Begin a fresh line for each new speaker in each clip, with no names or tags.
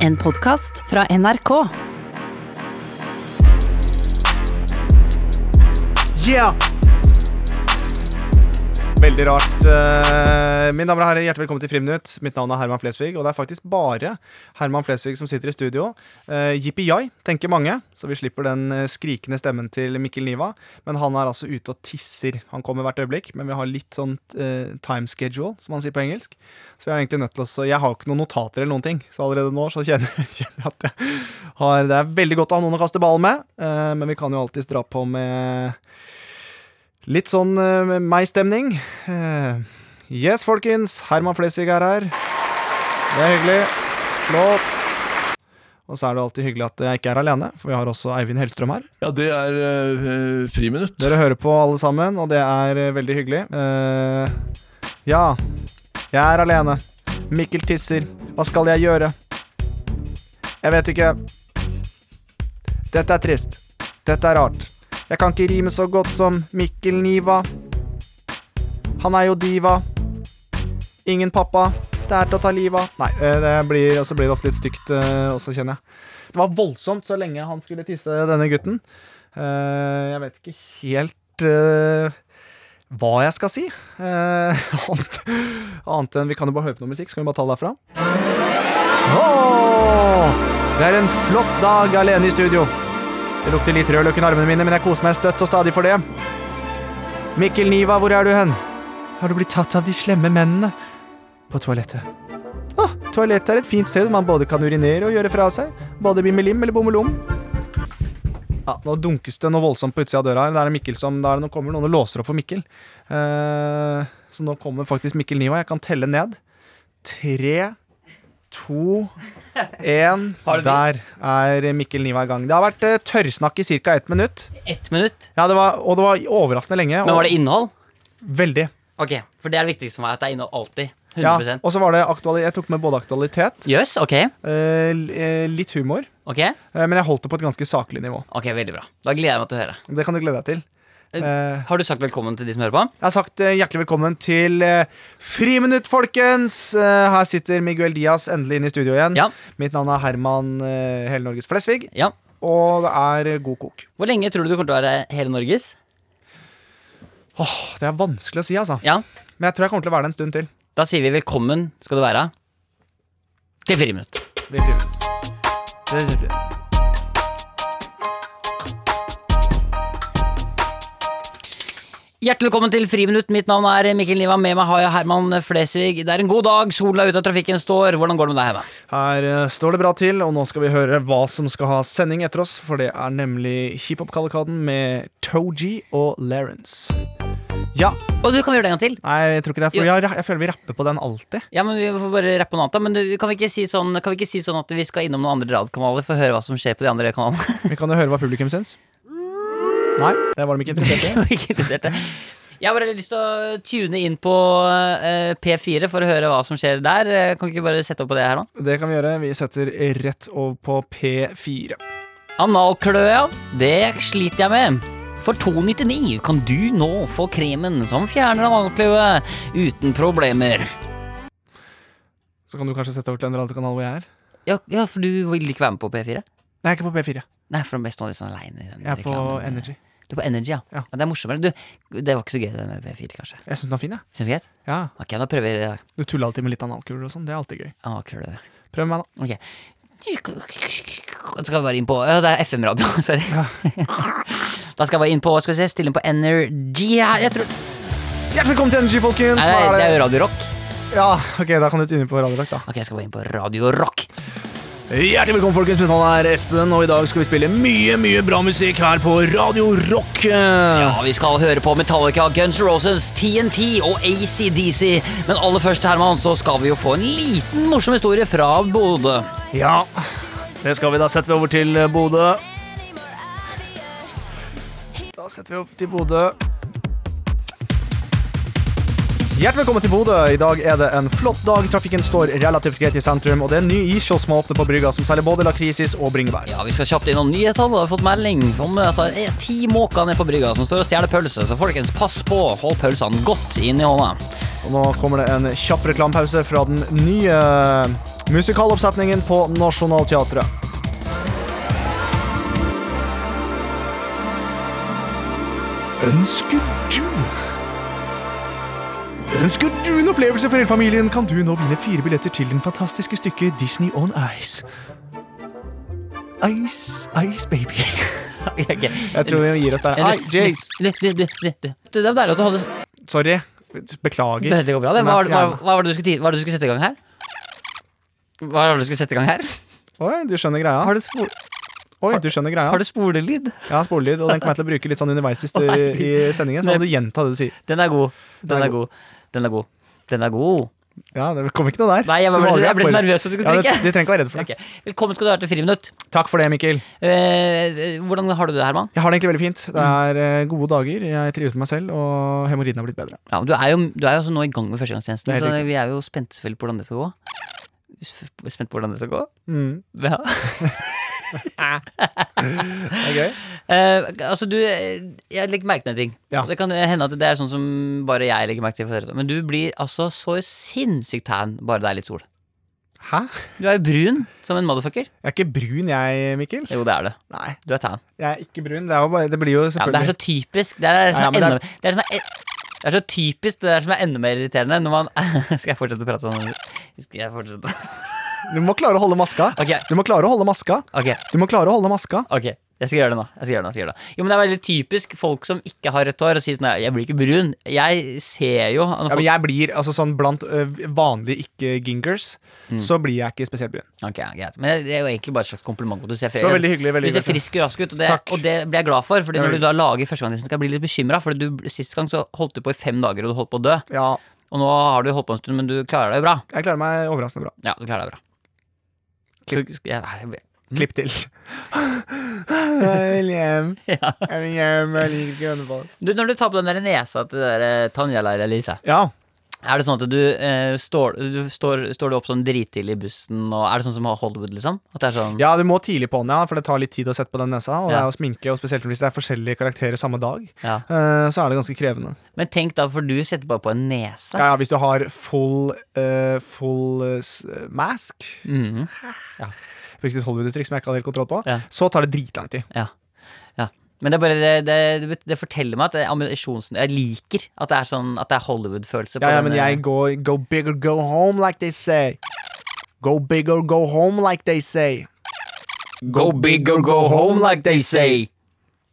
En podkast fra NRK.
Yeah! Veldig rart. Eh, Mine damer og herrer, hjertelig velkommen til Friminutt. Mitt navn er Herman Flesvig, og det er faktisk bare Herman Flesvig som sitter i studio. Uh, Jippi-jai, tenker mange, så vi slipper den eh, skrikende stemmen til Mikkel Niva. Men han er altså ute og tisser. Han kommer hvert øyeblikk, men vi har litt sånn eh, time schedule, som han sier på engelsk. Så vi er egentlig nødt til å så Jeg har jo ikke noen notater eller noen ting, så allerede nå så kjenner, kjenner jeg at jeg har Det er veldig godt å ha noen å kaste ballen med, eh, men vi kan jo alltids dra på med Litt sånn uh, meg-stemning. Eh, yes, folkens. Herman Flesvig er her. Det er hyggelig. Flott. Og så er det alltid hyggelig at jeg ikke er alene, for vi har også Eivind Hellstrøm her.
Ja, det er eh, friminutt.
Dere hører på alle sammen, og det er eh, veldig hyggelig. Eh, ja, jeg er alene. Mikkel tisser. Hva skal jeg gjøre? Jeg vet ikke. Dette er trist. Dette er rart. Jeg kan ikke rime så godt som Mikkel Niva. Han er jo diva. Ingen pappa. Det er til å ta livet av. Nei, eh, det blir, og så blir det ofte litt stygt eh, også, kjenner jeg. Det var voldsomt så lenge han skulle tisse, denne gutten. Eh, jeg vet ikke helt eh, hva jeg skal si. Eh, annet, annet enn Vi kan jo bare høre på noe musikk. Skal vi bare ta det derfra? Åh, det er en flott dag alene i studio. Det lukter litt rødløk i armene mine, men jeg koser meg støtt og stadig for det. Mikkel Niva, hvor er du hen? Har du blitt tatt av de slemme mennene? På toalettet. Åh, toalettet er et fint sted man både kan urinere og gjøre fra seg. Både bimmelim eller bommelom. Ja, nå dunkes det noe voldsomt på utsida av døra. her. Det er Mikkel som, det er, nå kommer noen og låser opp for Mikkel. Eh, så nå kommer faktisk Mikkel Niva. Jeg kan telle ned. Tre, to, én. Der er Mikkel Niva i gang. Det har vært eh, tørrsnakk i ca. ett minutt.
Ett minutt?
Ja, det var, Og det var overraskende lenge.
Men
og
var det innhold?
Veldig.
Ok, for det er det viktigste for meg, at det er innhold alltid.
Ja,
100
og så var det aktuali Jeg tok med både aktualitet,
Jøss, ok.
eh, l- eh, litt humor,
Ok,
eh, men jeg holdt det på et ganske saklig nivå.
ok, veldig bra. Da gleder jeg meg til å høre.
Det kan du glede deg til. Eh,
Har du sagt velkommen til de som hører på?
Jeg har sagt eh, hjertelig velkommen til eh, Friminutt, folkens! Eh, her sitter Miguel Diaz endelig inne i studio igjen.
Ja.
Mitt navn er Herman eh, Hele Norges Flesvig,
Ja.
og det er eh, god kok.
Hvor lenge tror du du kommer til å være hele Norges?
Åh, Det er vanskelig å si, altså.
Ja,
Men jeg tror jeg kommer til å være det en stund til.
da sier vi velkommen skal du være til friminutt.
Virkelig. Virkelig.
Hjertelig velkommen til Friminutt. Mitt navn er Mikkel Niva. Med meg har jeg Herman Flesvig. Det er en god dag. Sola er ute av trafikken står. Hvordan går det med deg hjemme?
Her eh, står det bra til, og nå skal vi høre hva som skal ha sending etter oss, for det er nemlig hiphop-kalikaden med Toji og Lawrence. Ja,
Og du kan gjøre det en gang til.
nei, jeg tror ikke det, er for vi
Jo.
har- jeg føler vi rapper på den alltid.
Ja, men Vi får bare rappe noe annet, da. Men du, kan, vi ikke si sånn, kan vi ikke si sånn at vi skal innom noen andre radiokanaler for å høre hva som skjer på de andre kanalene?
Vi kan jo høre hva publikum syns. Nei, det var de ikke interessert i.
Jeg var ikke interessert i det. Jeg har bare lyst til å tune inn på eh, P4 for å høre hva som skjer der. Eh, Kan vi ikke bare sette opp på det her nå?
Det kan vi gjøre. Vi setter rett over på P4.
Analkløe, ja. Det sliter jeg med. For 2,99 kan du nå få kremen som fjerner analkløe uten problemer.
Så kan du kanskje sette over til en radiokanal hvor jeg er.
Ja, ja, for du vil ikke være med på P4?
Nei, jeg er ikke på P4.
Nei, for det beste nå er litt sånn aleine i den
Jeg er på
reklamen.
Energy.
Du er på Energy, ja.
Ja.
ja. Det er morsommere. Du, det var ikke så gøy det med P4, kanskje.
Jeg syns den er fin, jeg.
Syns du greit?
Ja.
Ok, da prøver vi det i dag.
Du tuller alltid med litt analkuler og sånn. Det er alltid gøy.
Analkløe.
Prøv meg, da.
Ok Så skal jeg bare inn på Ja, det er FM-radio, sorry Da skal jeg bare inn på, skal vi se, stille inn på Energy her Jeg tror Nei,
Hjertelig velkommen til Energy, folkens!
det,
Hva
det er jo Radio Rock
Ja, ok, da kan du tune på Radio Rock, da.
Ok, jeg skal bare inn på Radio Rock
Hjertelig velkommen, folkens. Mitt navn er Espen, og i dag skal vi spille mye, mye bra musikk her på Radio Rock.
Ja, vi skal høre på Metallica, Guns N' Roses, TNT og ACDC Men aller først, Herman, så skal vi jo få en liten morsom historie fra Bodø
Ja, det skal vi. Da setter vi over til Bodø. Da setter vi opp til Bodø. Hjertelig velkommen til Bodø. I dag er det en flott dag. Trafikken står relativt greit i sentrum, og det er en ny iskiosk som har åpnet på brygga, som selger både lakrisis og bringebær.
Ja, Vi skal kjapt innom nyhetene. Da har vi fått melding om at det er ti måker nede på brygga som står og stjeler pølser. Så folkens, pass på. Hold pølsene godt inn i hånda.
Og nå kommer det en kjapp reklamepause fra den nye musikaloppsetningen på Nationaltheatret. Ønsker du Ønsker du en opplevelse for hele familien, kan du nå vinne fire billetter til den fantastiske stykket Disney on Ice. Ice, Ice Baby.
Okay.
Jeg tror vi gir oss der. Hei, Jace.
Det, det, det, det, det. det var deilig at du hadde
Sorry. Beklager.
Det går bra, det.
Den er
Hva var det, hva,
fjern.
hva var det du skulle, ti- hva var det du skulle sette i gang her? Hva var det du skulle sette i gang her?
Oi, du skjønner greia.
Har du, spol,
Oi, du skjønner greia.
har du spolelyd?
Jeg har sporlyd, og den kommer jeg til å bruke litt sånn underveis i, stu- i sendingen. Så må du gjenta det du sier.
Den er god. Den
er
er god. Den er god. Den er god.
Ja, det kom ikke noe der.
Nei, jeg
Som
ble,
vanlig er
jeg ble så
for-
nervøs for at du
Ja,
skulle
du,
trykke.
du trenger ikke være redd for det.
Ok. Velkommen skal du være til Friminutt.
Takk for det, Mikkel.
Eh, hvordan har du det, Herman?
Jeg har det egentlig veldig
Mm.
fint. Det er eh, gode dager. Jeg trives med meg selv, og hemoroidene har blitt bedre.
Ja, du, er jo, du er jo også nå i gang med førstegangstjenesten,
Det er
så
helt riktig.
vi er jo spent vel på hvordan det skal gå. Sp- Spent på hvordan det skal gå?
Mm.
Ja.
Okay.
Eh, altså, du eh, Jeg legger merke til en ting.
Ja.
Og Det kan hende at det er sånn som bare jeg legger merke til. for å høre det. Men du blir altså så sinnssykt tan bare det er litt sol.
Hæ?
Du er jo brun som en motherfucker.
Jeg er ikke brun, jeg, Mikkel.
Jo, det er du.
Nei,
Du er tan.
jeg er ikke brun. Det, er jo bare, det blir jo
Ja, men det er
selvfølgelig
så typisk. Det er det
Ja,
som er
men det er-
enda det er det som er det er så typisk det der som er enda mer irriterende når man Skal jeg fortsette å prate sånn? Skal jeg fortsette?
Du må klare å holde maska.
Ok,
Du må klare å holde maska.
ok.
Du må klare å holde maska.
Ok, jeg skal gjøre det nå. Jeg skal gjøre det, nå, jeg skal gjøre det. nå. Jo, men Det er veldig typisk folk som ikke har rødt hår, og sier sånn «Nei, 'Jeg blir ikke brun'. Jeg ser jo når
Ja,
folk...
men jeg blir, altså sånn Blant ø, vanlige ikke-gingers så blir jeg ikke spesielt brun.
Mm. Ok, ja, greit. Men det er jo egentlig bare et slags kompliment. Du ser, fri...
Det var veldig hyggelig. veldig
du ser
hyggelig.
frisk og rask ut, og det,
Takk.
og det blir jeg glad for. Fordi
Ja,
når
vel.
du da lager første gang, skal jeg bli litt bekymra. For du, sist gang så holdt du på i fem dager, og du holdt på å dø.
Ja,
Og nå har du holdt på en stund, men du klarer deg jo bra.
jeg klarer meg overraskende bra.
Ja, du klarer deg bra. Klipp. Mm. Jeg,
Klipp til. jeg vil hjem. Jeg vil hjem, jeg liker ikke Hønefoss.
du, når du tar på den der nesa til det der eh, Tanja eller Elise,
Ja.
Er det sånn at du, eh, står, du står, står du opp sånn dritidlig i bussen, og er det sånn som Hollywood, liksom? At det er sånn
ja, du må tidlig på den, ja, for det tar litt tid å sette på den nesa. Og det
Ja.
er å sminke, og spesielt hvis det er forskjellige karakterer samme dag,
Ja.
eh, så er det ganske krevende.
Men tenk da, for du setter bare på en nese.
Ja, ja, hvis du har full, eh, full eh, s- mask,
Mhm.
brukte et Hollywood-uttrykk som jeg ikke hadde helt kontroll på,
Ja.
så tar det dritlang tid.
ja. ja. Men det, er bare, det, det, det, det forteller meg at det er ammunisjons- Jeg liker at det er, sånn, at det er Hollywood-følelse. på
Ja, ja,
den,
men
eh,
jeg går Go big or go home, like they say. Go big or go home, like they say.
Go big or go home, like they say.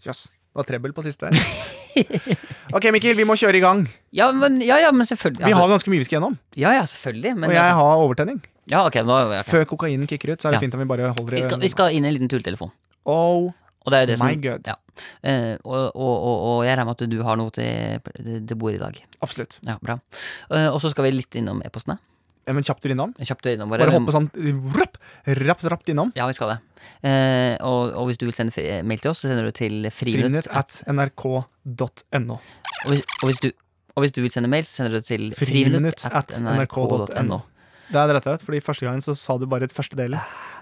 Jøss. Det var trebbel på siste. ok, Mikkel, vi må kjøre i gang.
Ja, men, ja, ja, men selvfølgelig.
Vi
altså,
har ganske mye vi skal gjennom,
Ja, ja, selvfølgelig. Men
og jeg
altså-
har overtenning.
ja, ok, nå, ok.
Før kokainen kicker ut, så er det
Ja.
fint om vi bare holder
Vi, skal, vi
i
skal inn i en liten tulletelefon.
Oh,
Og det er jo det som
My God.
Ja. Eh, og, og, og, og jeg regner med at du har noe til det- det bordet i dag.
absolutt.
Ja, bra. Eh, Og så skal vi litt innom e-postene.
Ja, Men kjapt innom.
Kjapt innom våre.
Bare hoppe sånn rapp, rapp, rapt innom.
Ja, vi skal det. Eh, og, og hvis du vil sende fri- mail til oss, så sender du til friminutt.
Friminutt at nrk.no.
Og, hvis, og, hvis du, og hvis du vil sende mail, så sender du til
Friminutt
friminutt
at
at
nrk.no.
nrk.no.
Det er rett og slett, fordi første gangen så sa du bare et første del.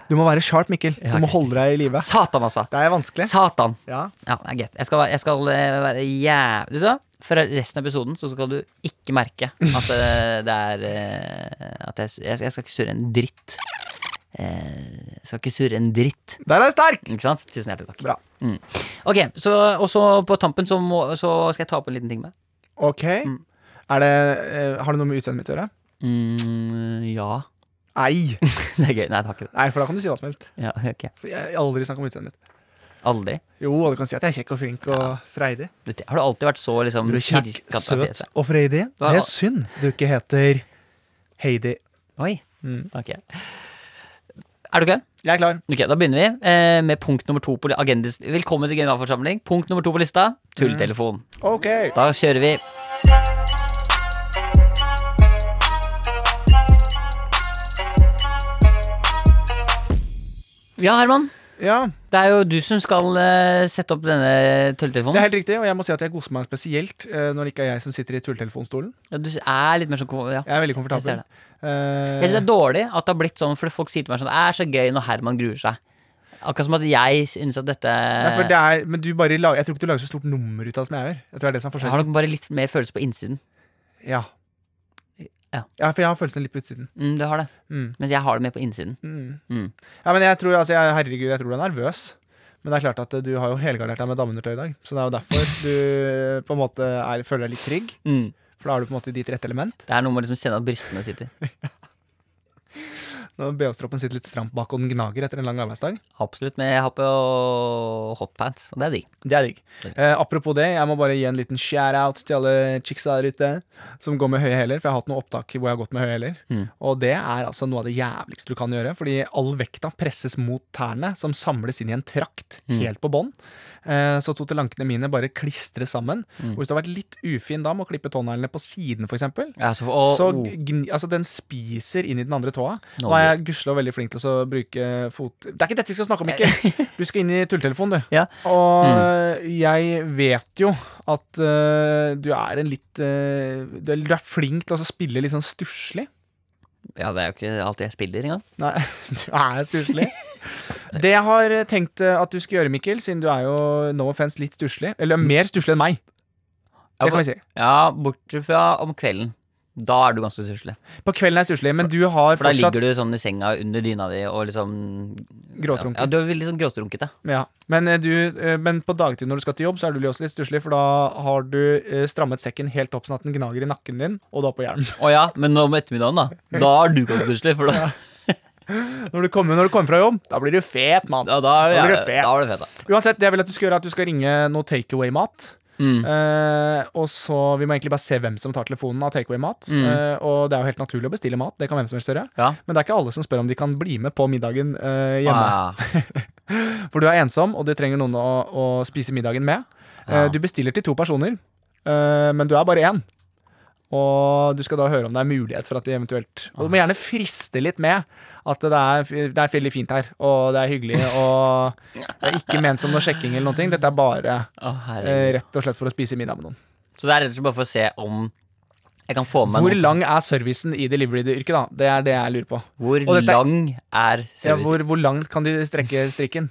Du må være sharp, Mikkel. Du
Ja,
må
ok.
holde deg i live.
Satan, altså!
Det er vanskelig.
Satan!
Ja.
Ja, det er greit. Jeg skal, jeg skal eh, være jævlig så, For resten av episoden så skal du ikke merke at eh, det er eh, At jeg, jeg, jeg skal ikke surre en dritt. Eh, Jeg skal ikke surre en dritt.
Der er jeg sterk!
Ikke sant? Tusen hjertelig takk.
Bra.
Mm. Ok, så, og så på tampen så, må, så skal jeg ta opp en liten ting med.
Ok. Er det, eh, har det noe med utseendet mitt å gjøre?
Mm, ja.
Nei.
Det er gøy. Nei, det har ikke det.
Nei, for da kan du si hva som helst.
Ja, ok.
For jeg har aldri snakket om utseendet mitt.
Aldri.
Jo, og du kan si at jeg er kjekk og flink og freidig.
Du, har du alltid vært så liksom
Du er kjekk,
firkantet
søt
fjeset?
og freidig.
Hva-
Det er synd du ikke heter Heidi.
Oi.
Mm.
Ok. Er du klar?
Jeg er klar.
Ok, Da begynner vi eh, med punkt nummer to på li- agendis. Velkommen til generalforsamling. Punkt nummer to på lista tulletelefon.
Ok.
Da kjører vi. Ja, Herman.
Ja,
Det er jo du som skal eh, sette opp denne
Det er
tulletelefonen.
helt riktig, og jeg må si at jeg koser meg spesielt eh, når det ikke er jeg som sitter i tulletelefonstolen.
Ja, du er litt mer sånn ko- ja.
Jeg er veldig
Jeg ser
komfortabel.
det.
Eh,
Jeg synes det er dårlig at det har blitt sånn, for folk sier til meg sånn Det er så gøy når Herman gruer seg. Akkurat som at jeg synes at dette
nei, for det er, men du bare lager, jeg tror ikke du lager så stort nummer ut av det som jeg gjør. Jeg tror det er det som er
Jeg har
forskjellen.
nok bare litt mer følelse på innsiden.
Ja.
Ja.
for jeg har følelsen litt på utsiden.
Mm, det har det.
Mm.
Mens jeg har det mer på innsiden.
Mm.
Mm.
Ja, men jeg tror, altså, jeg, herregud, jeg tror du er nervøs. Men det er klart at eh, du har jo helgardert deg med dameundertøy i dag, så det er jo derfor du eh, på en måte er, føler deg litt trygg.
Mm.
For da er du på en måte i ditt rette element.
Det er noe med å liksom kjenne at brystene sitter.
Når BH-stroppen sitter litt stramt bak, og den gnager etter en lang arbeidsdag.
Absolutt. Men jeg har på hotpants, og det er digg.
Det er digg.
Digg.
Eh, apropos det, jeg må bare gi en liten shout-out til alle chicksa der ute som går med høye hæler. For jeg har hatt noen opptak hvor jeg har gått med høye hæler.
Mm.
Og det er altså noe av det jævligste du kan gjøre. Fordi all vekta presses mot tærne, som samles inn i en trakt
Mm.
helt på bånn. Eh, så totelankene mine bare klistres sammen.
Mm.
Og hvis du har vært litt ufin da med å klippe tåneglene på siden, f.eks.
Ja, så, og,
Så
oh,
gni, altså den spiser inn i den andre tåa.
Nå
Nå er jeg gudskjelov veldig flink til å bruke fot... Det er ikke dette vi skal snakke om, ikke! Du skal inn i tulletelefonen, du.
Ja. Mm.
Og jeg vet jo at øh, du er en litt øh, du, er, du er flink til å spille litt sånn stusslig.
ja, det er jo ikke alltid jeg spiller engang.
Nei, du er stusslig. Det jeg har tenkt øh, at du skal gjøre, Mikkel, siden du er jo no offense litt stusslig Eller mer stusslig enn meg. Det kan vi si.
Ja, bortsett fra om kvelden. Da er du ganske stusslig.
På kvelden er jeg stusslig, men du har
For da
fortsatt
ligger du sånn i senga under dyna di og liksom
Gråtrunken.
Ja, du er veldig sånn gråtrunkete.
Ja, men, eh, du, eh, men på dagtid når du skal til jobb, så er du også litt stusslig, for da har du eh, strammet sekken helt opp sånn at den gnager i nakken din, og du har på hjelm.
Å ja, men om ettermiddagen, da. Da er du ganske stusslig, for da,
Når du kommer, når du kommer fra jobb, da blir du fet, mann.
ja, da, er
Da blir
jeg-
du fet.
da er du fet, da.
Uansett, det jeg vil at du skal gjøre, er at du skal ringe noe takeaway-mat.
Mm.
Eh, og så Vi må egentlig bare se hvem som tar telefonen av takeaway-mat.
Mm.
Eh, og det er jo helt naturlig å bestille mat, det kan hvem som helst gjøre.
Ja.
Men det er ikke alle som spør om de kan bli med på middagen eh, hjemme.
Ah,
For du er ensom, og du trenger noen å, å spise middagen med.
Ja.
Eh, Du bestiller til to personer, eh, men du er bare én. Og du skal da høre om det er mulighet for at de eventuelt Og du må gjerne friste litt med at det er, det er veldig fint her, og det er hyggelig, og det er ikke ment som noe sjekking eller noen ting. Dette er bare
å, herregud.
eh, rett og slett for å spise middag med noen.
Så det er rett og slett bare for å se om jeg kan få med meg
Hvor
noe-
lang er servicen i delivery-yrket, da? Det er det jeg lurer på.
hvor
og dette er-
lang er
Ja,
servicen?
hvor, hvor langt kan de strekke strikken?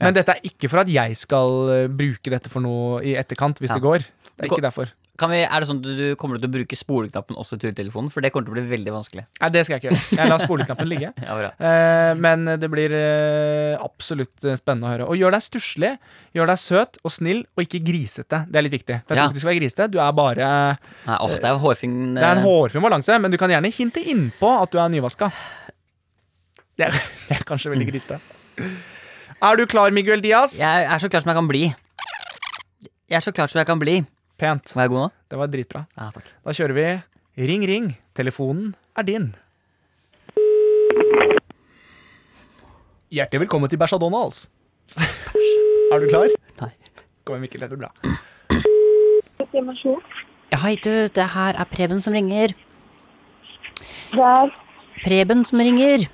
Men dette er ikke for at jeg skal eh, bruke dette for noe i etterkant, hvis
Ja.
det går. Det
Det
er
går-
ikke derfor.
Kan vi, er det sånn at du kommer til å bruke spoleknappen også til telefonen? For det kommer til å bli veldig vanskelig.
Nei, det skal jeg ikke gjøre. Jeg lar spoleknappen ligge.
Ja, bra.
Eh, men det blir eh, absolutt eh, spennende å høre. Og gjør deg stusslig, gjør deg søt og snill, og ikke grisete. Det er litt viktig. For jeg
Ja.
tror ikke du skal være grisete. Du er bare eh,
Nei, åh, det er jo hårfin eh,
Det er en hårfin balanse, men du kan gjerne hinte innpå at du er nyvaska. Det er, det er kanskje veldig grisete. Er du klar, Miguel Diaz?
Mm. Jeg er så klar som jeg kan bli. Jeg er så klar som jeg kan bli.
Pent.
Var jeg god nå?
Det var dritbra.
Ja, takk.
Da kjører vi Ring, ring, telefonen er din Hjertelig velkommen til Bæsja Donalds Er du klar?
Nei.
Kom igjen Mikkel, dette blir bra
Informasjon.
Ja, hei du, det her er Preben som ringer.
Det er
Preben som ringer.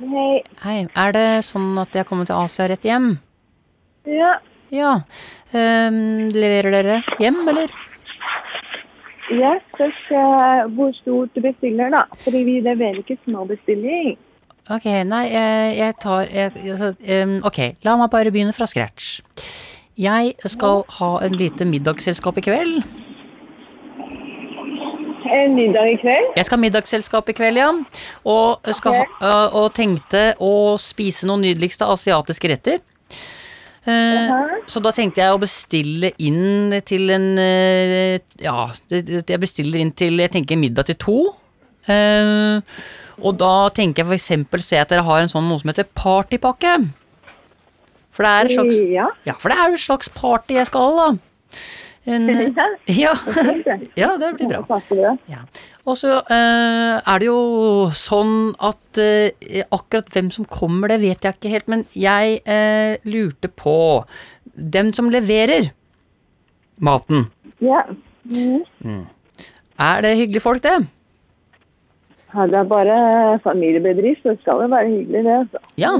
Hei.
Hei, er det sånn at jeg kommer til Asia rett hjem?
Ja.
Ja. Ehm, leverer dere hjem, eller?
Ja, først eh, hvor stort du bestiller, da. Fordi vi leverer ikke småbestilling.
Ok, nei, jeg, jeg tar jeg, altså, ehm, Ok, la meg bare begynne fra scratch. Jeg skal ha en lite middagsselskap i kveld.
En middag i kveld?
Jeg skal ha middagsselskap i kveld, ja. Og, skal ha, øh, og tenkte å spise noen nydeligste asiatiske retter. Eh, Så da tenkte jeg å bestille inn til en eh, Ja, det- det- jeg bestiller inn til Jeg tenker middag til to. Eh, og da tenker jeg for eksempel se at dere har en sånn noe som heter partypakke. For det er et slags
Ja.
Ja, for det er jo et slags party jeg skal ha, da. En, eh, ja.
Ja, fint, det.
ja, det blir
Ja,
bra.
passer det.
Ja. Og så eh, er det jo sånn at eh, akkurat hvem som kommer, det vet jeg ikke helt, men jeg eh, lurte på Dem som leverer maten.
Ja. Mhm.
Er det hyggelige folk, det?
Ja, det er bare familiebedrift, så det skal jo være hyggelig, det. altså.
Ja.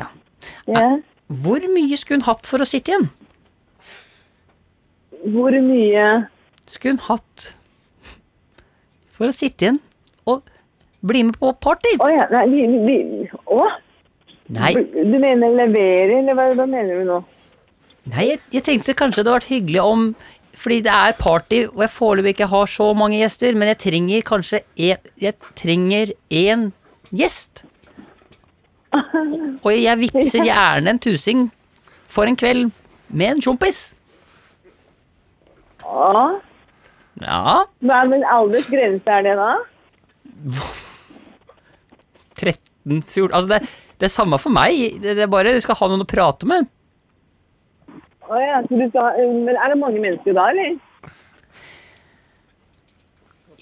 ja.
Ja.
Hvor mye skulle hun hatt for å sitte igjen?
Hvor mye
Skulle hun hatt for å sitte igjen og bli med på party?
Å ja, nei, vi, vi, å?
Nei,
Du mener levere, eller hva, hva mener du nå?
nei jeg, jeg tenkte kanskje det hadde vært hyggelig om fordi det er party, og jeg foreløpig ikke har så mange gjester, men jeg trenger kanskje en, jeg trenger én gjest. Og jeg vippser gjerne en tusing for en kveld med en tjompis.
Ja.
Ja,
Hva er min aldersgrense er det da?
13, 14 Altså, det, det er samme for meg. Det, det er bare jeg skal ha noen å prate med.
Å ja, så du skal, men er det mange mennesker da, eller?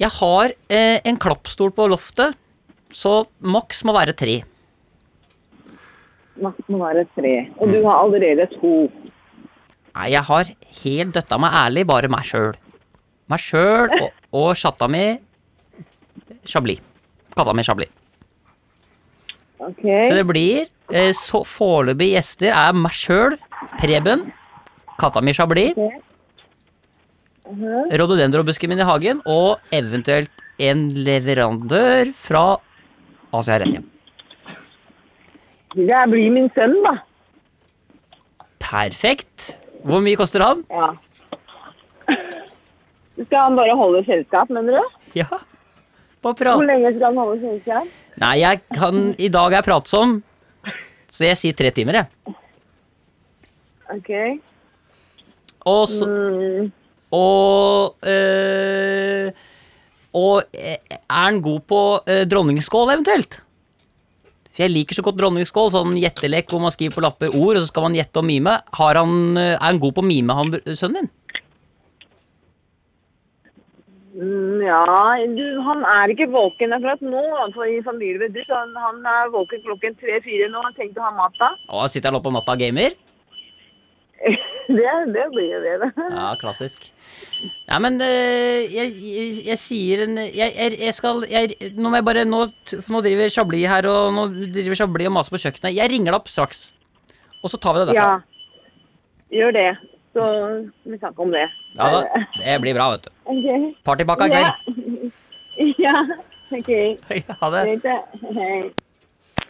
Jeg har eh, en klappstol på loftet, så maks må være tre.
Maks må være tre. Og
Mm.
du har allerede to.
Nei, jeg har helt døtta meg ærlig bare meg sjøl. Meg sjøl og, og chatta mi Chablis. Katta mi Chablis.
Ok.
Så det blir eh, så foreløpig gjester er meg sjøl, Preben, katta mi Chablis, rhododendrobusken min i hagen og eventuelt en leverandør fra Asia Renia.
Det blir min sønn, da.
Perfekt. Hvor mye koster han?
Ja. Skal han bare holde selskap, mener du?
Ja. Bare
Hvor
prat.
lenge skal han holde selskap?
Nei, jeg kan I dag er jeg pratsom, så jeg sier tre timer, jeg.
Ok.
Og så
Mm.
Og øh, Og eh, er han god på eh, dronningskål, eventuelt? For jeg liker så godt dronningskål, sånn gjettelek hvor man skriver på lapper ord, og så skal man gjette og mime. Har han, eh, er han god på å mime, han br- sønnen din?
Mm, Ja, du, han er ikke våken akkurat nå for i familiebedrift. så Han, han er våken klokken tre-fire nå. Han tenkte å ha mat da.
Å, sitter han oppe om natta og gamer?
Det, det blir jo det, da.
Ja, klassisk. Nei, men eh, jeg, jeg, jeg sier en Jeg, jeg, jeg skal jeg, Nå må jeg bare Nå, for nå driver Chablis her og nå driver Chablis og maser på kjøkkenet. Jeg ringer deg opp straks, og så tar vi det derfra.
Ja. Gjør det. Så vi snakker om det.
Ja, da, det blir bra, vet du.
Ok.
Partypakka i
Ja.
kveld.
Ja. OK.
Ha det.
Greit, det. Hei.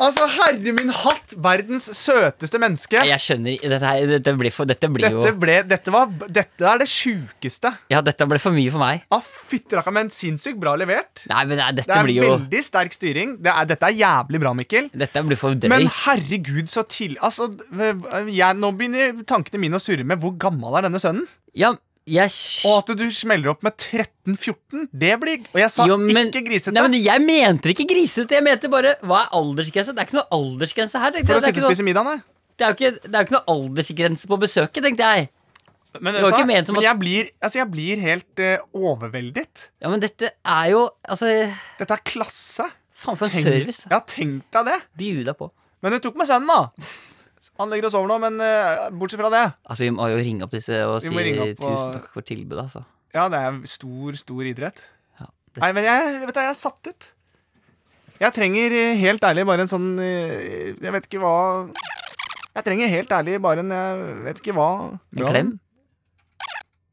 Altså, herre min hatt! Verdens søteste menneske.
Jeg skjønner ikke- dette, her, dette blir for Dette blir
Dette,
jo
ble, dette, var, dette er det sjukeste.
Ja, dette ble for mye for meg.
Ah, Fytterakka, men sinnssykt bra levert.
Nei, men nei,
Det
dette
er
blir jo
veldig sterk styring. Det er, dette er jævlig bra, Mikkel.
Dette blir for
Men
drøyt.
herregud, så tidlig Altså, jeg, nå begynner tankene mine å surre med hvor gammel er denne sønnen.
Ja, jeg
Og at du smeller opp med 13-14, det blir Og jeg sa
Jo, men-
ikke grisete.
Nei, men Jeg mente ikke grisete. Jeg mente bare Hva er aldersgrense? Det er ikke noe aldersgrense her. tenkte
for å
jeg. Det er
sitte
ikke sånn-
og
noe-
spise middag, nei.
Det er jo ikke, det er jo ikke noe aldersgrense på besøket, tenkte jeg.
Men,
Det var
vet du hva?
ikke ment som
men
at-
jeg, blir, altså, jeg blir helt eh, overveldet.
Ja, Men dette er jo Altså,
Dette er klasse.
faen for en
Tenk-
service.
Ja, tenk deg det.
Bjuda på.
Men hun tok med sønnen, da. Han legger og sover nå, men eh, bortsett fra det
Altså, vi må jo ringe opp disse og si
Vi må ringe opp og-
tusen takk for tilbudet, altså.
Ja, det er stor, stor idrett.
Ja, det-
Nei, men jeg, vet du, jeg er satt ut. Jeg trenger eh, helt ærlig bare en sånn eh, Jeg vet ikke hva Jeg trenger helt ærlig bare en Jeg vet ikke hva
En
Bra.
klem?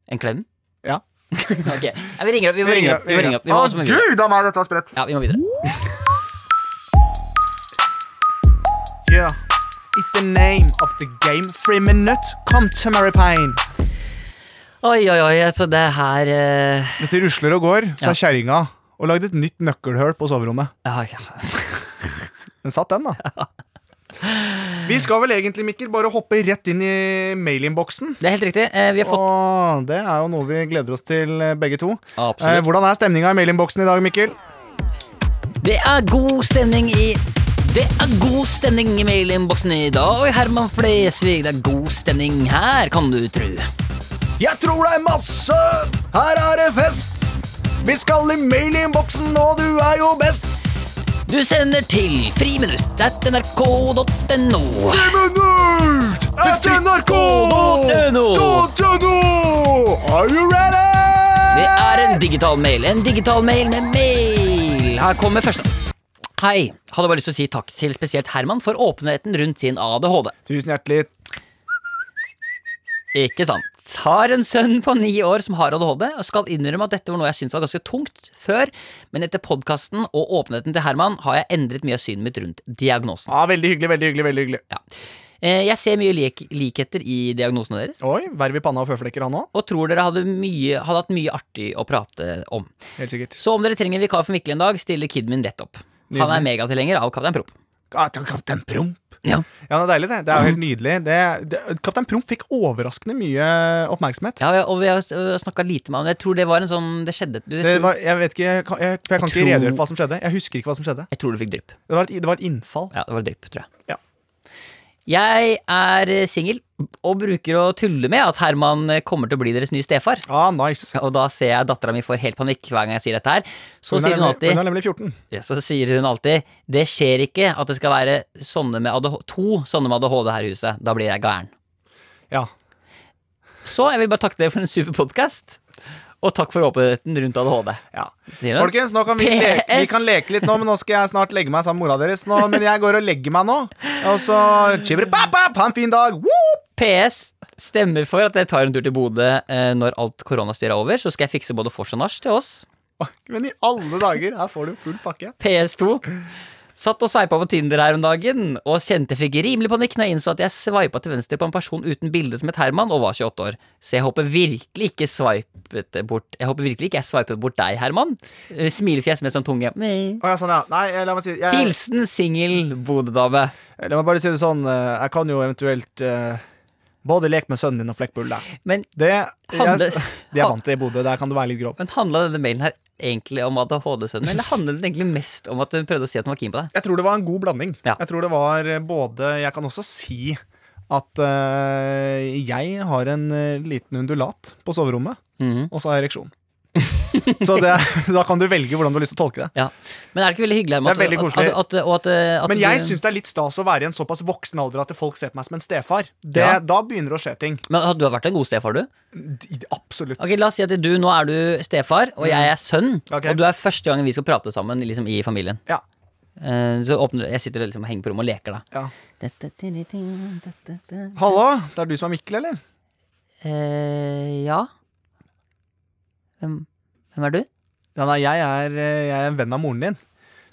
En klem?
Ja.
ok. Nei, vi ringer opp. Vi må ringe opp. Vi må ringe opp. Vi må,
Å,
også må vi videre.
gud a meg, dette var sprøtt.
Ja, vi må videre.
Yeah. It's the name of the game. Three minutes, come to Maripane.
Oi, oi, oi. Altså, det her eh,
Dette rusler og går, så
Ja.
er kjerringa og lagde et nytt nøkkelhull på soverommet.
ja, ja.
Den satt, den, da. Vi skal vel egentlig, Mikkel, bare hoppe rett inn i mailinnboksen.
Det er helt riktig. Eh, vi har fått
Og det er jo noe vi gleder oss til, eh, begge to. Eh,
Absolutt.
hvordan er stemninga i mailinnboksen i dag, Mikkel?
Det er god stemning i det er god stemning i mailinnboksen i dag, Herman Flesvig. Det er god stemning her, kan du tru.
Jeg tror det er masse! Her er det fest! Vi skal i mailinnboksen, og du er jo best!
Du sender til friminutt at nrk.no.
Are you ready?
Det er en digital mail, en digital mail med mail. Her kommer første. Hei. Hadde bare lyst til å si takk til spesielt Herman for åpenheten rundt sin ADHD.
Tusen hjertelig.
Ikke sant. Har en sønn på ni år som har ADHD, og skal innrømme at dette var noe jeg syntes var ganske tungt før, men etter podkasten og åpenheten til Herman har jeg endret mye av synet mitt rundt diagnosen.
Ja, veldig hyggelig, veldig hyggelig. veldig hyggelig
Eh, Jeg ser mye lik likheter i diagnosene deres,
Oi, verv i panna og føflekker han òg.
og tror dere hadde, mye, hadde hatt mye artig å prate om.
Helt sikkert.
Så om dere trenger en vikar for Mikkel en dag, stiller kiden min rett opp. Han er megatilhenger av Kaptein Prop.
Ah, det er Kaptein Promp.
Ja.
det er deilig, det. Det er jo helt nydelig. Det, det, Kaptein Promp fikk overraskende mye oppmerksomhet.
Ja, og vi har snakka lite med ham. Jeg tror det var en sånn Det skjedde. Du,
Det var, jeg vet ikke, jeg kan, jeg, for jeg kan ikke
Jeg tror-
redegjøre for hva som skjedde. Jeg husker ikke hva som skjedde.
Jeg tror du fikk drypp.
Det var et, det var et innfall.
Ja, det var drypp, tror jeg.
Ja.
Jeg er øh, singel og bruker å tulle med at Herman øh, kommer til å bli deres nye stefar.
Ah, nice.
Og da ser jeg dattera mi får helt panikk hver gang jeg sier dette her. Så
Hun er
sier hun
nemlig-
alltid
Hun er nemlig 14.
ja, Så sier hun alltid Det skjer ikke at det skal være sånne med ADH to sånne med ADHD her i huset. Da blir jeg gæren.
Ja.
Så jeg vil bare takke dere for en super podkast. Og takk for åpenheten rundt ADHD.
ja.
Sier hun.
Folkens, nå kan vi, leke, vi
PS.
kan leke litt nå, men nå skal jeg snart legge meg sammen med mora deres. Nå, men jeg går og legger meg nå. Og så chibri-bap-bap, ha en fin dag! Woo!
PS stemmer for at jeg tar en tur til Bodø eh, når alt koronastyret er over. Så skal jeg fikse både vors og nach til oss.
Men i alle dager, her får du full pakke.
PS2. Satt og sveipa på Tinder her om dagen og kjente jeg fikk rimelig panikk når jeg innså at jeg sveipa til venstre på en person uten bilde som het Herman og var 28 år. Så jeg håper virkelig ikke sveipet bort Jeg håper virkelig ikke jeg sveipet bort deg, Herman. Eh, Smilefjes med sånn tunge. Nei.
Å, ja, sånn, ja. Nei, eh, la meg si jeg,
Hilsen singel Bodø-dame.
La meg bare si det sånn, eh, jeg kan jo eventuelt eh, både leke med sønnen din og flekke bulla.
Men,
Det jeg,
Handler-
De er vant til i Bodø, der kan du være litt grov.
men handla denne mailen her egentlig om ADHD-sønnen, eller handlet den egentlig mest om at hun prøvde å si at hun var keen på deg?
Jeg tror det var en god blanding.
Ja.
Jeg tror det var eh, både Jeg kan også si at eh, jeg har en eh, liten undulat på soverommet,
Mhm.
og så har jeg ereksjon. så det, da kan du velge hvordan du har lyst til å tolke det.
Ja. Men er det ikke veldig hyggelig? Herman,
Det er
at-
veldig koselig.
At, at, og at, at
Men
du-
jeg syns det er litt stas å være i en såpass voksen alder at folk ser på meg som en stefar. Det,
Ja.
Da begynner det å skje ting.
Men at du har vært en god stefar, du?
D- Absolutt.
Ok, La oss si at du, nå er du stefar, og jeg er sønn.
Ok.
Og du er første gangen vi skal prate sammen liksom, i familien.
Ja.
Eh, så åpner, jeg sitter og liksom, henger på rommet og leker, da.
Ja.
Dette, dette, dette, dette.
Hallo, det er du som er Mikkel, eller?
Eh, ja. Hvem, hvem er du?
Ja, nei, jeg er, eh, jeg er en venn av moren din.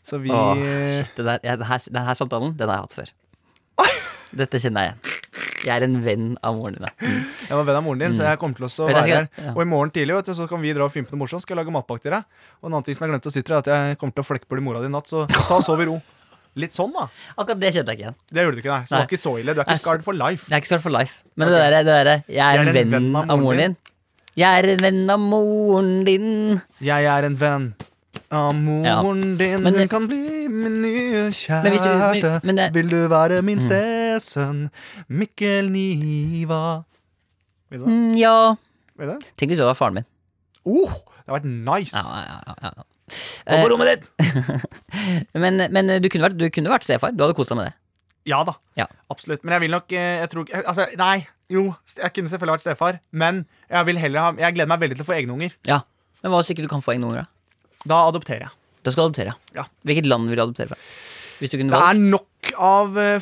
Så vi eh,
Åh, shit, det der, ja, den, her, den her samtalen den har jeg hatt før. Dette kjenner jeg igjen. Jeg er en venn av moren din. da.
Jeg var venn av moren din, så jeg kommer til å
Vet du,
være
Mm. jeg
her.
skal- ja.
Og i morgen tidlig vet du, så kan vi dra og finne på noe morsomt. Skal jeg lage matpakke til deg. Og en annen ting som jeg glemte å si til deg, er at jeg kommer til å flekkbule mora di i natt, så ta og sov i ro. Litt sånn, da.
Akkurat det kjente jeg ikke igjen.
Det gjorde du ikke, nei. Så det
Nei.
var ikke så ille. Du er
Nei,
ikke
så-
scarred for life.
Jeg er ikke sort for life. Men det derre det der, Jeg er en venn, av moren din. Jeg er en venn av moren din.
Jeg er en venn av moren din.
Men
Hun
det-
kan bli min nye
Men hvis du- men-
kjæreste.
men det- Mm.
Vil du være min stesønn, Mikkel Niva? Vet du det?
Mm, ja.
Vet du det?
Tenk hvis du var faren min.
Oh, det har vært nice!
Ja, ja, ja, ja, ja.
Gå på rommet ditt!
Men, men du, kunne vært, du kunne vært stefar. Du hadde kost deg med det.
Ja da.
Ja.
Absolutt. Men jeg vil nok eh, jeg tror, ikke- altså, Nei, jo, st- jeg kunne selvfølgelig vært stefar, men jeg, vil heller ha, jeg gleder meg veldig til å få egne unger.
Ja. Men hva hvis ikke du kan få egne unger? Da
Da adopterer jeg.
Da skal du adoptere.
Ja.
Hvilket land vil du adoptere fra? Hvis du kunne
Det er
valgt
nok av eh,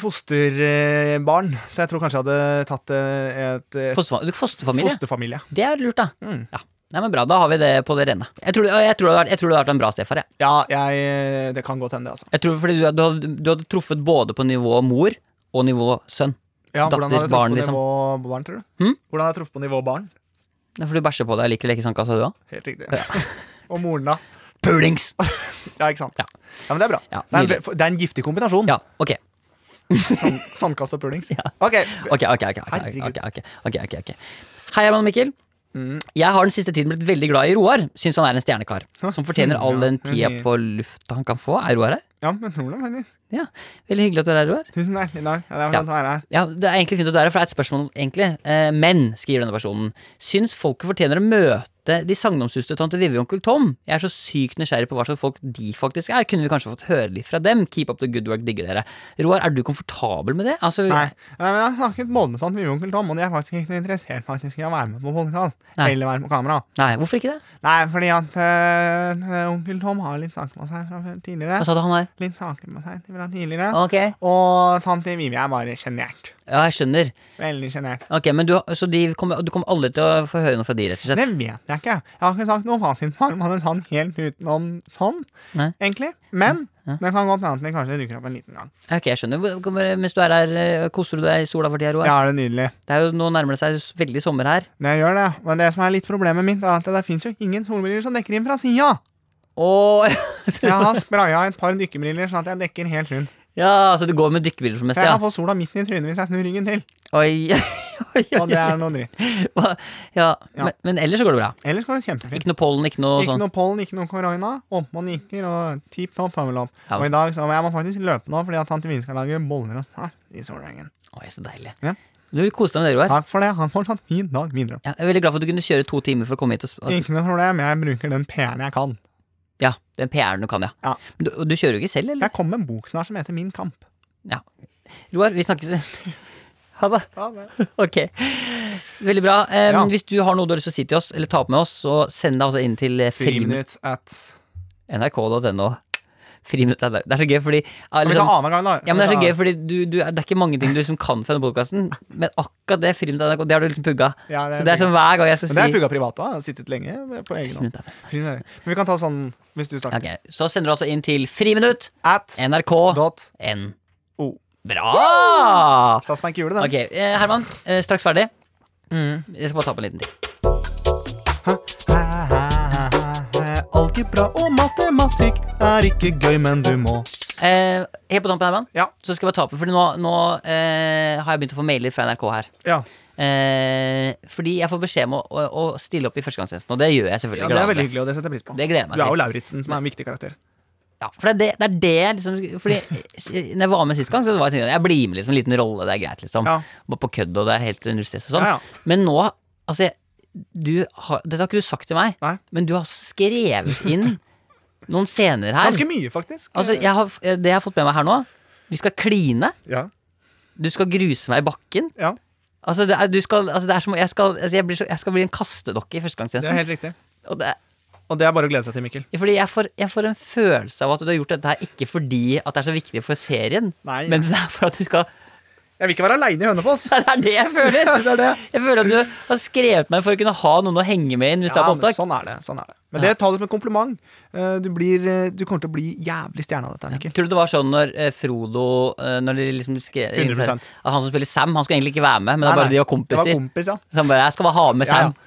fosterbarn, så jeg tror kanskje jeg hadde tatt eh, et, eh,
fosterfa- du, fosterfamilie?
fosterfamilie.
Det er lurt, da.
Mm.
Ja. Nei, men Bra, da har vi det på det rene. Jeg tror, jeg tror, du, hadde vært, jeg tror du hadde vært en bra stefar. Jeg.
Ja, jeg, eh, det kan godt hende, det, altså.
Jeg tror fordi du, hadde- du, hadde, du hadde truffet både på nivå mor og nivå sønn.
Ja,
Datter,
hvordan hadde jeg truffet
barn,
på
liksom.
nivå barn, tror du?
Hm?
Hvordan hadde jeg truffet på nivå barn?
Det er fordi du bæsjer på deg og liker å leke i sandkassa, du òg.
Helt riktig. Og moren, da?
Pulings!
Ja, ikke sant?
Ja.
men det er bra.
Ja,
det, er en,
nydelig.
ve- det er en giftig kombinasjon.
Ja, ok.
Sand, sandkasse og pulings. Ok,
Ok, ok, ok, ok,
Herregud. Mm.
ok, ok, ok, ok, ok. Hei, Herman og Mikkel. Jeg har den siste tiden blitt veldig glad i Roar. Syns han er en stjernekar. Som fortjener
mm,
all den tida
enig.
på lufta han kan få. Er Roar her?
ja, men Roland, men-
Ja, Veldig hyggelig at du er her, Roar.
Tusen hjertelig takk. Ja, det er
Ja.
fint å være her.
Ja, Det er egentlig fint at du er her, for det er et spørsmål, egentlig. Eh, Men, skriver denne personen, syns folket fortjener å møte møte de sagnomsuste tante Vivi og onkel Tom. Jeg er så sykt nysgjerrig på hva slags folk de faktisk er. Kunne vi kanskje fått høre litt fra dem? Keep up the good work, digger dere. Roar, er du komfortabel med det? Altså,
Nei. Nei, men jeg har snakket både med tante Vivi og onkel Tom, og de er faktisk ikke interessert faktisk i å være med på podcast,
Nei.
eller være med på kamera.
nei, hvorfor ikke det?
Nei, fordi at eh, onkel Tom har litt saker med seg fra før tidligere.
Hva sa du han her?
Litt saker med seg fra tidligere.
Ok,
Og tante Vivi er bare sjenert.
ja, jeg skjønner.
Veldig sjenert.
Ok, men du, Så de kommer, du kommer aldri til å få høre noe fra de, rett og slett?
Det vet jeg ikke. Jeg har ikke sagt noe fasitsvar. Man er sånn helt utenom sånn,
Nei.
egentlig. Men det kan godt hende at det kanskje dukker opp en liten gang.
Ok, jeg skjønner. Hvor- kommer- Mens du er her, eh, koser du deg i sola for tida, Roar?
Ja, det er nydelig.
Det er jo, nå nærmer det seg s- veldig sommer her.
Det gjør det. Men det som er litt problemet mitt, er at det fins jo ingen solbriller som dekker inn fra sida.
Og
Jeg har spraya et par dykkerbriller sånn at jeg dekker helt rundt.
Ja, altså du går med dykkebriller for det meste,
For jeg
ja.
kan få sola midt i trynet hvis jeg snur ryggen til.
Oi, oi,
Og det
oi.
er noe dritt.
Hva- Ja,
Ja.
men, men ellers så går det bra.
Ellers går det kjempefint.
Ikke noe pollen, ikke noe
Ikke
sånn.
noe pollen, ikke noe korona. Oppmann nikker, og tipp topp tommel opp.
Ja.
Og i dag så jeg må faktisk løpe nå, fordi at tante Vin skal lage boller og salt i Solvangen.
Oi, så deilig.
Ja.
Du koste deg med det, Roar.
Takk for det. Han får tatt min dag videre.
Ja, jeg er veldig glad for at du kunne kjøre to timer for å komme hit og s- altså,
Ikke noe problem. Jeg bruker den PR-en jeg kan.
Ja, den PR-en du kan, ja.
Ja.
Men du, og du kjører jo ikke selv, eller?
Jeg kom med en bok snart som heter Min kamp.
Roar, vi snakkes. Ha det. Ok. Veldig bra. Eh,
Ja.
Hvis du har noe du har lyst til å si til oss, eller ta opp med oss, så send det altså inn til eh, friminutt.
at
NRK.no. Friminutt er der. Det er så gøy, fordi ah,
Vi
liksom,
tar annenhver gang, da.
ja, men det er så
Vi
gøy,
tar-
fordi du, du, Det er ikke mange ting du liksom kan fra denne podkasten, men akkurat det Friminutt er NRK, det har du liksom pugga.
Ja, det er
så det er sånn hver gang jeg skal
Men det er
si
pugga privat òg. Har sittet lenge på egen hånd.
Friminutt er der.
Men vi kan ta sånn hvis du starter.
Ok, Så sender du altså inn til friminutt
At
nrk.no.
dot o.
Bra!
Sats meg ikke hjulet, den.
Ok, eh, Herman, eh, straks ferdig.
Mm.
Jeg skal bare ta på en liten ting.
Algebra og matematikk er ikke gøy, men du må.
Eh, helt på tampen, Herman,
Ja.
så skal jeg bare ta på, for nå, nå eh, har jeg begynt å få mailer fra NRK her.
Ja,
Eh, fordi jeg får beskjed om å, å, å stille opp i førstegangstjenesten, og det gjør jeg selvfølgelig.
ja Det er
glad
veldig
med.
hyggelig, og det setter jeg pris på.
Det gleder jeg meg
Du er jo
til.
Lauritzen, som er en viktig karakter.
Ja, for det er det, det, er det jeg liksom Fordi s- når jeg var med sist gang, så var jeg sånn Jeg blir med liksom en liten rolle, det er greit, liksom.
Ja.
Bare på kødd, og det er helt null stress og sånn.
Ja, ja.
Men nå, altså jeg- du har, Dette har ikke du sagt til meg,
Nei.
men du har skrevet inn noen scener her.
Ganske mye, faktisk.
Altså, jeg har, det jeg har fått med meg her nå Vi skal kline.
Ja.
Du skal gruse meg i bakken.
Ja.
Altså, det er, du skal, altså, det er som Jeg skal, altså, jeg blir, så, jeg skal bli en
Det
kastedokke i
er
førstegangstjenesten.
helt riktig.
Og det er-
Og det er bare å glede seg til, Mikkel.
Fordi jeg får, jeg får en følelse av at du har gjort dette her ikke fordi at det er så viktig for serien,
Nei.
men det er for at du skal
Jeg vil ikke være aleine i Hønefoss.
Det er det jeg føler!
Ja, det er det.
Jeg føler at du har skrevet meg for å kunne ha noen å henge med inn hvis du er
Ja,
på
men
opptak.
sånn er det. sånn er det Men det tar du som en kompliment. Eh, Du, blir, eh, du kommer til å bli jævlig stjerne av dette. Mikkel
Tror du det var sånn når eh, Frodo eh, Når de liksom skrev
100%.
At han som spiller Sam, han skulle egentlig ikke være med, men det
Nei,
er bare
nei.
de var kompiser.
Det var kompis, ja.
Så han bare 'Jeg skal bare ha med
Ja,
Sam'.
ja.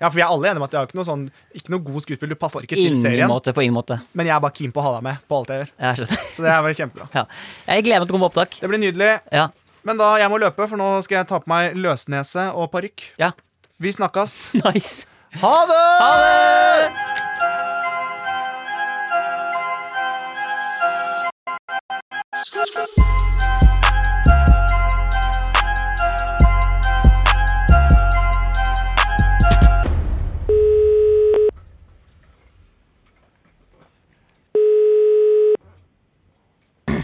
ja, for vi er alle enige om at jeg har ikke noe sånn Ikke noe god skuespill. Du passer ikke til
Ingen
serien.
måte, på ingen måte.
Men jeg er bare keen på å ha deg med på alt jeg gjør.
Jeg skjønner.
Så det er vel kjempebra.
Ja. Jeg gleder meg til å komme på opptak.
Det blir nydelig.
Ja.
Men da, jeg må løpe, for nå skal jeg ta på meg løsnese og parykk.
ja.
Vi snakkes.
Nice.
Ha det! Ha det!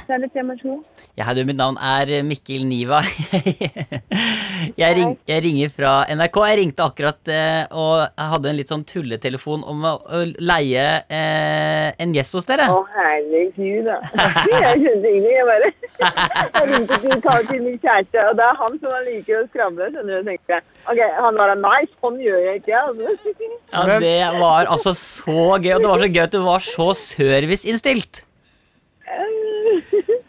Så er det tema to.
Ja, hei, du, mitt navn er eh, Mikkel Niva. Jeg, ring, jeg ringer fra NRK. Jeg ringte akkurat eh, og jeg hadde en litt sånn tulletelefon om å, å leie eh, en gjest hos dere.
Å, herregud, da. Jeg skjønte ingenting. Jeg bare Jeg ringte til Carl til min kjæreste, og det er han som liker å skravle, skjønner du. Så tenkte jeg OK, han bare Nei, sånn gjør jeg ikke. Altså.
Ja, Det var altså så gøy, og det var så gøy at du var så serviceinnstilt.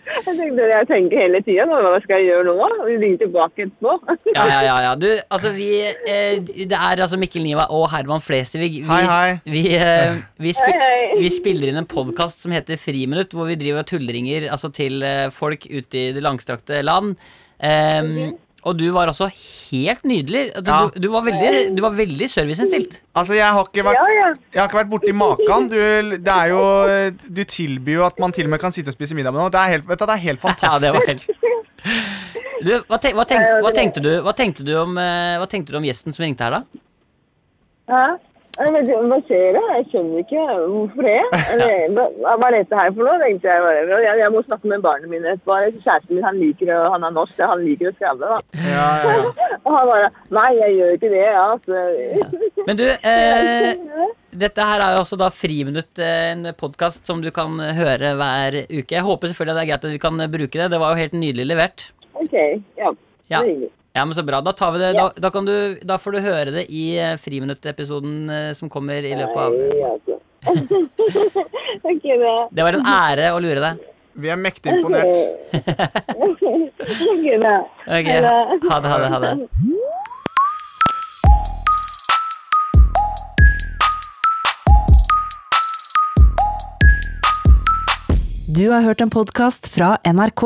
Jeg tenkte jeg tenker hele tida på hva skal jeg gjøre nå? Og vi ringer tilbake etterpå.
Ja, ja, ja, ja. Du, altså vi eh, Det er altså Mikkel Niva og Herman Flesvig. Vi,
Hei, hei.
Vi, eh, vi, spi
Hei, hei.
vi spiller inn en podkast som heter Friminutt, hvor vi driver og tullringer altså, til eh, folk ute i det langstrakte land. Ehm,
Mhm.
og du var altså helt nydelig. Du,
Ja.
du, du var veldig, du var veldig serviceinnstilt.
Altså, jeg har ikke vært
Ja, ja.
Jeg har ikke vært borti makan. Du, det er jo, du tilbyr jo at man til og med kan sitte og spise middag med noen. Det er helt, vet du, det er helt
Ja, det var
fantastisk.
helt du, hva, tenk, hva, tenk, hva, tenkte du, hva, tenkte du om, eh, hva tenkte du om gjesten som ringte her, da?
Hæ? Jeg vet ikke, Hva skjer da? Jeg skjønner ikke hvorfor det. Eller, hva, hva er dette her for noe? tenkte jeg bare. Og Jeg, jeg må snakke med barna mine etterpå. Kjæresten min han liker å- han er norsk, så han liker å skravle. da.
Ja, ja, ja.
Og han bare Nei, jeg gjør ikke det. Ja, altså.
Men du, eh, dette her er jo også da Friminutt, eh, en podkast som du kan eh, høre hver uke. Jeg håper selvfølgelig at det er greit at vi kan eh, bruke det. Det var jo helt nydelig levert.
OK. Ja.
Ja.
det er hyggelig.
Ja, men så bra. Da, tar vi det. Da, da, kan du, da får du høre det i eh, Friminutt-episoden eh, som kommer i løpet av
Nei, altså. OK, det.
Det var en ære å lure deg.
Vi er mektig imponert.
OK, det.
Ok,
Ha det.
Ha det, ha det, ha det.
Du har hørt en podkast fra NRK.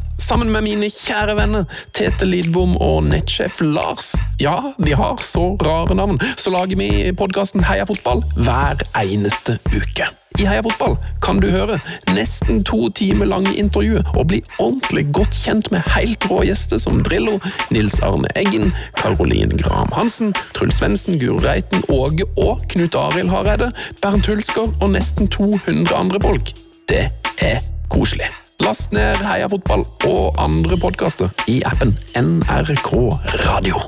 Sammen med mine kjære venner Tete Lidbom og nettsjef Lars. Ja, de har så rare navn, så lager vi podkasten Heia fotball hver eneste uke. I Heia fotball kan du høre nesten to timer lange intervju og bli ordentlig godt kjent med helt rå gjester som Drillo, Nils Arne Eggen, Caroline Graham Hansen, Truls Svendsen, Guro Reiten, Åge og Knut Arild Hareide, Bernt Hulsker og nesten 200 andre folk. Det er koselig. Last ned Heia fotball og andre podkaster i appen NRK Radio.